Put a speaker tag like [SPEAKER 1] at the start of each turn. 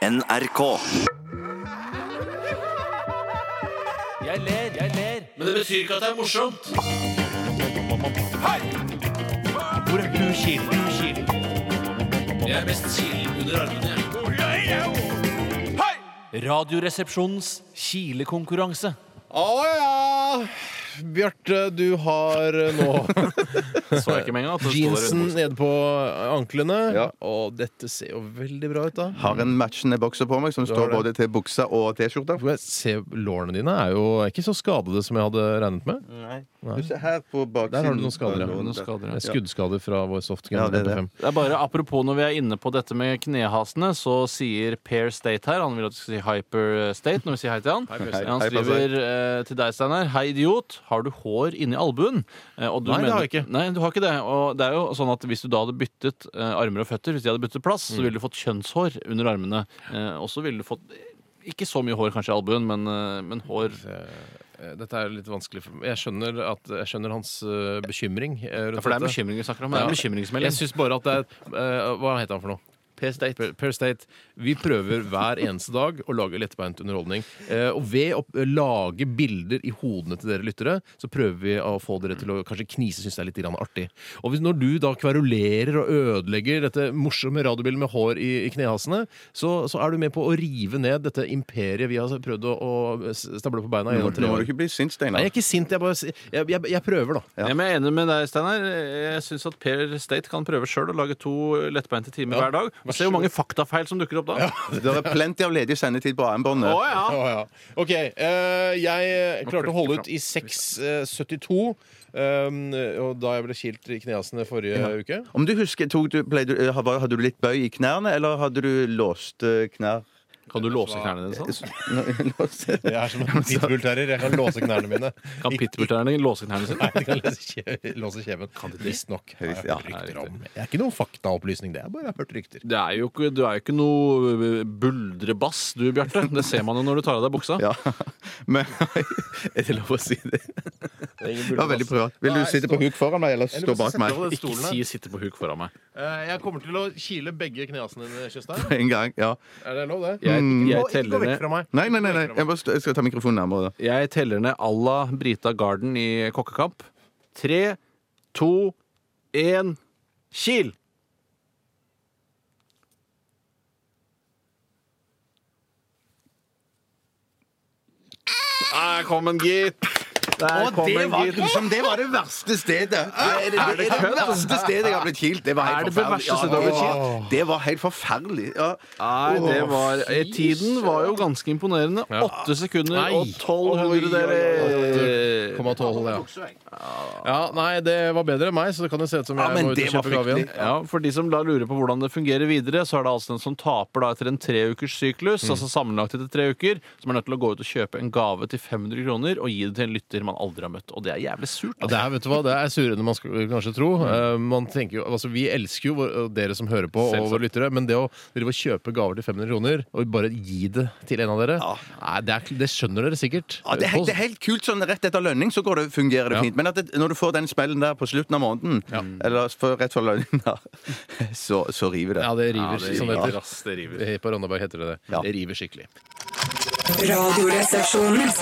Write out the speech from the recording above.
[SPEAKER 1] NRK.
[SPEAKER 2] Jeg ler, jeg ler. Men det betyr ikke at det er morsomt. Hvor er du, Kilen? Du, Kilen? Jeg er mest kilen under armene, jeg. Radioresepsjonens kilekonkurranse.
[SPEAKER 3] Å ja! Bjarte, du har eh, nå
[SPEAKER 2] Så jeg ikke med en gang at det sto der
[SPEAKER 3] jeansen
[SPEAKER 2] ute.
[SPEAKER 3] nede på eh, anklene.
[SPEAKER 4] Ja.
[SPEAKER 3] Og dette ser jo veldig bra ut, da.
[SPEAKER 4] Har en matchende bokser på meg som står
[SPEAKER 3] det.
[SPEAKER 4] både til buksa og T-skjorta.
[SPEAKER 3] Får jeg se, Lårene dine er jo ikke så skadede som jeg hadde regnet med.
[SPEAKER 4] Du ser her på baksiden.
[SPEAKER 3] Der har du noen skader.
[SPEAKER 4] på låren
[SPEAKER 3] Ja.
[SPEAKER 4] der.
[SPEAKER 2] skader, ja.
[SPEAKER 3] Det er Skuddskader fra vår softgun.
[SPEAKER 4] Ja, det er det.
[SPEAKER 3] MP5.
[SPEAKER 2] Det er bare Apropos når vi er inne på dette med knehasene, så sier Per State her Han vil at du skal si Hyper State når vi sier hei til han.
[SPEAKER 4] State.
[SPEAKER 2] han
[SPEAKER 4] Hei, Per
[SPEAKER 2] skriver eh, til deg, Steinar. Hei, idiot. Har du hår inni albuen? Eh, og du
[SPEAKER 3] Nei, det
[SPEAKER 2] mener-
[SPEAKER 3] har jeg ikke.
[SPEAKER 2] Nei, du har ikke det. Og det er jo sånn at hvis du da hadde byttet eh, armer og føtter, hvis de hadde byttet plass, så ville du fått kjønnshår under armene. Eh, og så ville du fått eh, ikke så mye hår kanskje i albuen, men, eh, men hår
[SPEAKER 3] Eh, Dette er litt vanskelig for meg. Jeg skjønner, at, jeg skjønner hans eh, bekymring. eh, rundt
[SPEAKER 2] For det er
[SPEAKER 3] dette.
[SPEAKER 2] bekymring vi snakker om. Det er en
[SPEAKER 3] Jeg
[SPEAKER 2] bekymringsmelding.
[SPEAKER 3] syns bare at det er eh, Hva heter han for noe?
[SPEAKER 2] Per State.
[SPEAKER 3] Per, per State, vi prøver hver eneste dag å lage lettbeint underholdning. Eh, og ved å eh, lage bilder i hodene til dere lyttere, så prøver vi å få dere til å kanskje knise, synes det er litt grann artig. Og hvis, når du da kverulerer og ødelegger dette morsomme radiobildet med hår i, i knehasene, så, så er du med på å rive ned dette imperiet vi har prøvd å, å stable på beina
[SPEAKER 4] Nå
[SPEAKER 3] gjennom
[SPEAKER 4] nå
[SPEAKER 3] tre
[SPEAKER 4] må du
[SPEAKER 3] år.
[SPEAKER 4] ikke bli sint,
[SPEAKER 3] Nei,
[SPEAKER 4] Steinar.
[SPEAKER 3] jeg er ikke sint. Jeg, bare, s- jeg, jeg, jeg prøver, da.
[SPEAKER 4] Ja.
[SPEAKER 2] Ja. men jeg er enig med deg, Steinar. Jeg syns at Per State kan prøve sjøl å lage to lettbeinte timer hver dag. Og se hvor mange faktafeil som dukker opp da.
[SPEAKER 4] Det er plenty av ledig sendetid på AM-båndet.
[SPEAKER 2] Å ja!
[SPEAKER 3] Å, ja. OK. eh, jeg klarte å holde ut i 6,72. Um, og da jeg ble kilt i knehasene forrige uke.
[SPEAKER 4] Om du husker, tok du, ble du, hadde hadde du litt bøy i knærne, eller hadde du låste knær?
[SPEAKER 2] Kan du låse knærne dine sånn?
[SPEAKER 4] Låste.
[SPEAKER 3] Jeg er som en pitbull-terrier. Jeg kan låse knærne mine.
[SPEAKER 2] Kan pitbull-ternerne låse knærne sine?
[SPEAKER 3] Jeg kan låse kje- låse kjeven. Visstnok. har jeg
[SPEAKER 4] Ja.
[SPEAKER 3] hørt rykter om. Det er ikke noen faktaopplysning, det. Jeg bare har hørt rykter.
[SPEAKER 2] Det er jo ikke, du er jo ikke noe buldrebass du, Bjarte. Det ser man jo når du tar av deg buksa.
[SPEAKER 4] Ja. Men Er det lov å si det? Det var veldig privat. Vil du
[SPEAKER 3] Nei,
[SPEAKER 4] sitte
[SPEAKER 3] stå-
[SPEAKER 4] på huk foran meg, eller stå bak meg?
[SPEAKER 2] Ikke si 'sitte på huk' foran meg.
[SPEAKER 3] Eh, Jeg kommer til å kile begge knehasene dine, Tjøstheim.
[SPEAKER 4] En gang, ja.
[SPEAKER 3] Er det lov, det?
[SPEAKER 2] Jeg, jeg,
[SPEAKER 3] Mm. Ikke gå
[SPEAKER 2] teller
[SPEAKER 3] vekk
[SPEAKER 2] ned,
[SPEAKER 3] fra meg.
[SPEAKER 4] Nei, nei, nei. nei. Jeg, bare, stå- jeg skal ta mikrofonen nærmere. da.
[SPEAKER 2] jeg teller ned à la Brita Garden i Kokkekamp. Tre, to, én, kil! Der kom en, gitt! Der kom en, gitt!
[SPEAKER 4] liksom, det var det verste stedet! Det er det, det, er det verste stedet jeg har blitt kilt. Det var
[SPEAKER 2] Er
[SPEAKER 4] helt
[SPEAKER 2] det det
[SPEAKER 4] forferdelig.
[SPEAKER 2] verste stedet du har blitt
[SPEAKER 4] kilt? Det var helt forferdelig. Ja.
[SPEAKER 2] Nei, det var eh, Tiden var jo ganske imponerende.
[SPEAKER 3] Ja.
[SPEAKER 2] Åtte sekunder
[SPEAKER 3] Nei.
[SPEAKER 2] og tolv hundredeler.
[SPEAKER 3] 8,12, ja. ja. Nei, det var bedre enn meg, så det kan jo se ut som jeg
[SPEAKER 4] men
[SPEAKER 3] må ut
[SPEAKER 4] det
[SPEAKER 3] og
[SPEAKER 4] var
[SPEAKER 3] kjøpe gave igjen.
[SPEAKER 4] fryktelig.
[SPEAKER 2] Ja, for de som da lurer på hvordan det fungerer videre, så er det altså den som taper da etter en treukers syklus,
[SPEAKER 3] Mm.
[SPEAKER 2] altså sammenlagt etter tre uker, som er nødt til å gå ut og kjøpe en gave til 500 kroner og gi det til en lytter man aldri har møtt. Og det er jævlig surt.
[SPEAKER 3] Ja, det er, vet du hva, det er surere enn man skal kanskje tro. Eh, man tenker jo, altså, vi elsker jo vår, og dere som hører på, og
[SPEAKER 2] Selvsagt.
[SPEAKER 3] våre lyttere, men det å drive og kjøpe gaver til 500 kroner og bare gi det til en av dere, nei, det, er, det skjønner dere sikkert.
[SPEAKER 4] Ja, det, er, helt- det er helt kult sånn rett etter lønning, så går det, fungerer det
[SPEAKER 3] Ja.
[SPEAKER 4] fint. Men at det, når du får den smellen der på slutten av måneden, eller for, rett før lønningen, da, så, så river det.
[SPEAKER 3] ja, det sånn river, som det
[SPEAKER 4] river,
[SPEAKER 3] heter. Eh, På Randaberg heter det det.
[SPEAKER 4] Ja.
[SPEAKER 3] Det river skikkelig.
[SPEAKER 5] Radioresepsjonen.